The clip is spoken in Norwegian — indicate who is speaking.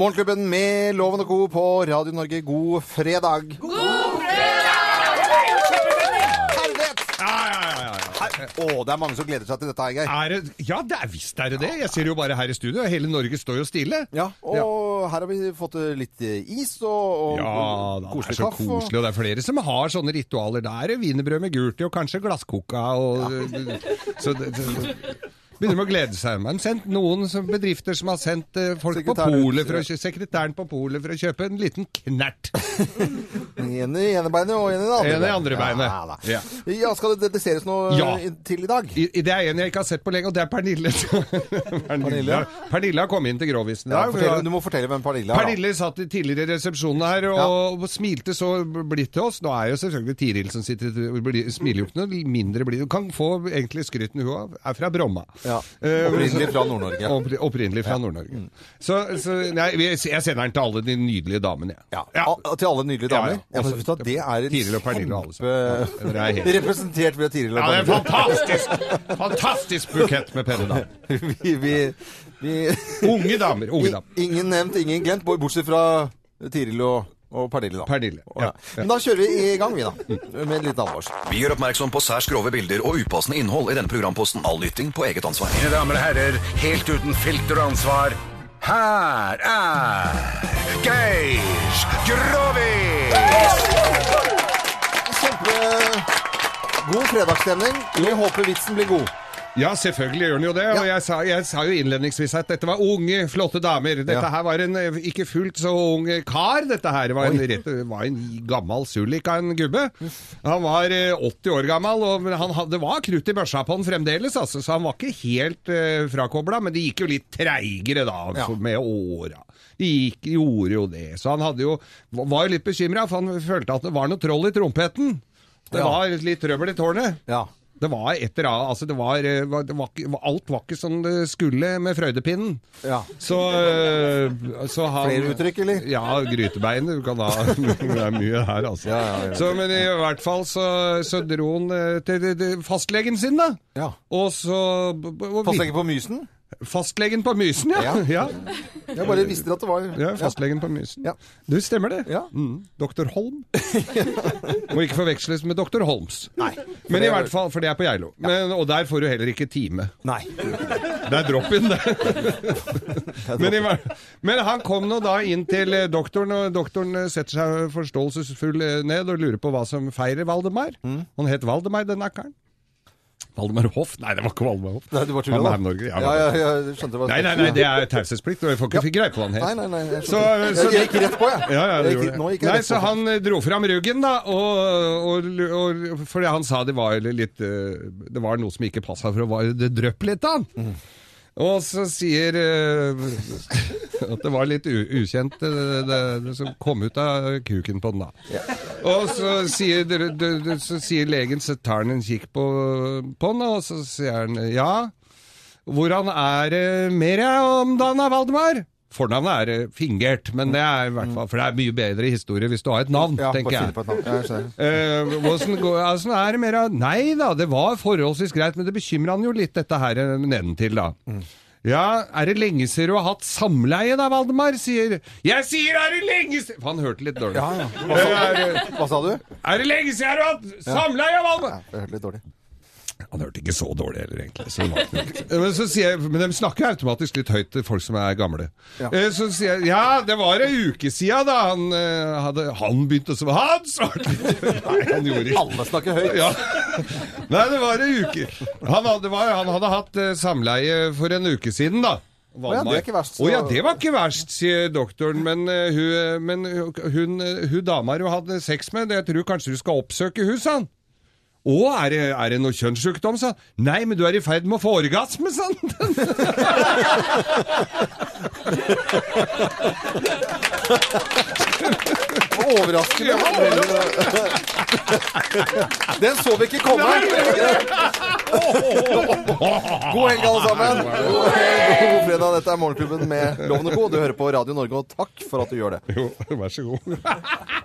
Speaker 1: Morgenklubben med Loven og Co. på Radio Norge, god fredag. God fredag!
Speaker 2: Ja, ja, ja, ja, ja.
Speaker 1: Å, det er mange som gleder seg til dette, her, Geir.
Speaker 2: Er det, ja, det er visst er det det. Jeg ser jo bare her i studio. Hele Norge står jo stille.
Speaker 1: Ja, og her har vi fått eh, litt eh, is og, og
Speaker 2: Ja, da, det er
Speaker 1: koselig
Speaker 2: så
Speaker 1: kaffe. og-
Speaker 2: koselig, og det er flere som har sånne ritualer. Det er wienerbrød med gult i, og kanskje glasskoka. Og, så det, det, begynner med å glede seg. Men sendt noen som, bedrifter som har sendt eh, folk på
Speaker 1: Sekretæren ut,
Speaker 2: polet for å, kjø- sekretæren på polet for å kjøpe en liten knert.
Speaker 1: En i ene beinet og en i det andre.
Speaker 2: En i andre beinet.
Speaker 1: Ja, da.
Speaker 2: Ja.
Speaker 1: ja, skal det dediseres noe eh,
Speaker 2: Ja.
Speaker 1: i- til i dag?
Speaker 2: I, i- det er en jeg ikke har sett på lenge, og det er Pernille. Pernille, Pernille har kommet inn til Grovisen i
Speaker 1: Ja,
Speaker 2: dag. for
Speaker 1: fortell,
Speaker 2: hun-
Speaker 1: du må fortelle hvem Pernille er. da.
Speaker 2: Pernille satt i tidligere i resepsjonen her og, og smilte så blidt til oss. Nå er jo selvfølgelig Tiril som sitter og blir- smiler jo ikke noe mindre blid. Du kan få egentlig skryten hun har- er fra Bromma.
Speaker 1: Ja.
Speaker 2: Eh,
Speaker 1: Opprinnelig fra Nord-Norge. Mm.
Speaker 2: Oppri- Opprinnelig fra Nord-Norge. Så, så nei, vi- jeg sender den til alle de nydelige damene, jeg.
Speaker 1: Ja. Al- Til alle nydelige
Speaker 2: Ja, ja.
Speaker 1: damer. Ja, men
Speaker 2: Også-
Speaker 1: vet du hva, det er
Speaker 2: Tiril og Pernille og alle sammen. Ja, det er helt-
Speaker 1: Representert ved Tiril og
Speaker 2: Ja, det er en
Speaker 1: Pernille.
Speaker 2: fantastisk, fantastisk bukett med pennedamer.
Speaker 1: vi, vi, vi
Speaker 2: Unge damer. unge damer.
Speaker 1: Ingen nevnt, ingen glemt, bo- bortsett fra Tiril og, og Pernille. Da.
Speaker 2: Pernille, ja.
Speaker 1: Å, Men da kjører vi i gang, vi, da. Med litt alvor.
Speaker 3: Vi gjør oppmerksom på særs grove bilder og upassende innhold i denne programposten. All lytting på eget ansvar.
Speaker 4: Mine damer og herrer, helt uten filter og ansvar, her er Geir Grovis!
Speaker 1: Kjempe god fredagsstemning. Vi håper vitsen blir god.
Speaker 2: Ja, selvfølgelig gjør den jo det. Og jeg sa, jeg sa jo innledningsvis at dette var unge, flotte damer. Dette
Speaker 1: Ja.
Speaker 2: her var en eh, ikke fullt så ung kar. Dette her var en,
Speaker 1: Oi.
Speaker 2: rett, var en gammel sullik av en gubbe. Han var eh, 80 år gammel, og men han, had- det var krutt i børsa på han fremdeles, altså, så han var ikke helt uh, frakobla. Men det gikk jo litt treigere da,
Speaker 1: Ja.
Speaker 2: for, med åra. De gikk, gjorde jo det. Så han hadde jo, var jo litt bekymra, for han følte at det var noe troll i trompeten. Det
Speaker 1: Ja.
Speaker 2: var litt trøbbel i tårnet.
Speaker 1: Ja.
Speaker 2: Det var et eller annet altså det var, eh, var- det var, ikke- Alt var ikke som det skulle med Frøydepinnen.
Speaker 1: Ja.
Speaker 2: Så, eh, så han,
Speaker 1: Flere uttrykk, eller?
Speaker 2: Ja, grytebein. Du kan ha Det er mye her, altså.
Speaker 1: Ja, ja, ja.
Speaker 2: Så, men i hvert fall så, så dro han eh, til, til- til fastlegen sin, da.
Speaker 1: Ja.
Speaker 2: Og så og,
Speaker 1: Fastlege på Mysen?
Speaker 2: Fastlegen på Mysen, ja.
Speaker 1: Ja.
Speaker 2: Ja, ja.
Speaker 1: Jeg bare visste at det var
Speaker 2: fastlegen på Mysen.
Speaker 1: Ja.
Speaker 2: Du, stemmer det.
Speaker 1: Ja.
Speaker 2: Mm. Doktor Holm. Må ikke forveksles med Doktor Holms.
Speaker 1: Nei.
Speaker 2: Men
Speaker 1: det
Speaker 2: i
Speaker 1: er-
Speaker 2: hvert fall, for det er på Geilo. Men- Og der får du heller ikke time.
Speaker 1: Nei.
Speaker 2: Det er drop-in, det. Men, i hver- men han kom nå da inn til eh, doktoren, og doktoren eh, setter seg forståelsesfull eh, ned og lurer på hva som feirer Valdemar. Han het Valdemar, den akkeren. Mm. Valdemar Hoff? Nei, det var ikke Valdemar Hoff.
Speaker 1: Nei, du bare tuller,
Speaker 2: Han
Speaker 1: da.
Speaker 2: er Norge, ja.
Speaker 1: ja, ja, ja, jeg skjønte hva
Speaker 2: Nei, nei, nei, det er taushetsplikt, og jeg får ikke fikk greie på hva han het.
Speaker 1: Nei, nei, nei, jeg
Speaker 2: Så,
Speaker 1: skjønte.
Speaker 2: så,
Speaker 1: Jeg- jeg gikk rett på, jeg.
Speaker 2: ja, ja, det
Speaker 1: Jeg
Speaker 2: gjorde
Speaker 1: gikk-
Speaker 2: det.
Speaker 1: nå gikk jeg
Speaker 2: Nei,
Speaker 1: rett på.
Speaker 2: så han eh, dro fram ruggen, da, og, og, og For det han sa det var litt eh, Det var noe som ikke passa, for det var- det drøpp litt, da. Og så sier eh, at det var litt u ukjent eh, det, det som kom ut av kuken på den, da. Og så sier, dr- dr- dr- så sier legen, så tar han en kikk på, på den, og så sier han ja. Hvordan er det mer jeg om dagen, da, Valdemar? Fornavnet er eh, fingert, men det er i hvert fall For det er mye bedre historie hvis du har et navn,
Speaker 1: Ja, bare
Speaker 2: tenker
Speaker 1: finne
Speaker 2: jeg.
Speaker 1: på et navn. Ja, jeg skjønner.
Speaker 2: Eh, hvordan går, altså, er det mer av Nei da, det var forholdsvis greit, men det bekymrer han jo litt, dette her eh, nedentil, da.
Speaker 1: Mm.
Speaker 2: Ja, er det lenge siden du har hatt samleie da, Valdemar? Sier Jeg sier er det lenge siden For han hørte litt dårlig.
Speaker 1: Ja, Ah, ja.
Speaker 2: Eh, Er,
Speaker 1: Hva sa du?
Speaker 2: er det lenge siden du har hatt samleie, Valdemar?
Speaker 1: Ja, jeg hørte litt dårlig.
Speaker 2: Han hørte ikke så dårlig heller, egentlig. Så det var ikke noe. Eh, men, så sier jeg, men de snakker automatisk litt høyt til folk som er gamle.
Speaker 1: Ja.
Speaker 2: Eh, Så sier jeg ja, det var ei uke sia da han eh, hadde Han begynte som Han svarte litt! Nei, han gjorde ikke
Speaker 1: Alle snakker høyt.
Speaker 2: ja. Nei, det var ei uke. Han hadde, var, han hadde hatt eh, samleie for en uke siden, da.
Speaker 1: ja, det er ikke verst, så-
Speaker 2: Å ja, det var ikke verst, sier doktoren. Men, eh, hun, eh, men hun, hun, eh, hun dama du hadde sex med, det jeg tror kanskje du skal oppsøke hun, sa han. Å, er det, er det noe kjønnssykdom, sa han. Nei, men du er i ferd med å få orgasme, sa han.
Speaker 1: Overraskende. Den så vi ikke komme. God helg, alle sammen. God, helg, god fredag. Dette er Morgenklubben med Lovende Co. Du hører på Radio Norge, og takk for at du gjør det.
Speaker 2: Jo, vær så god.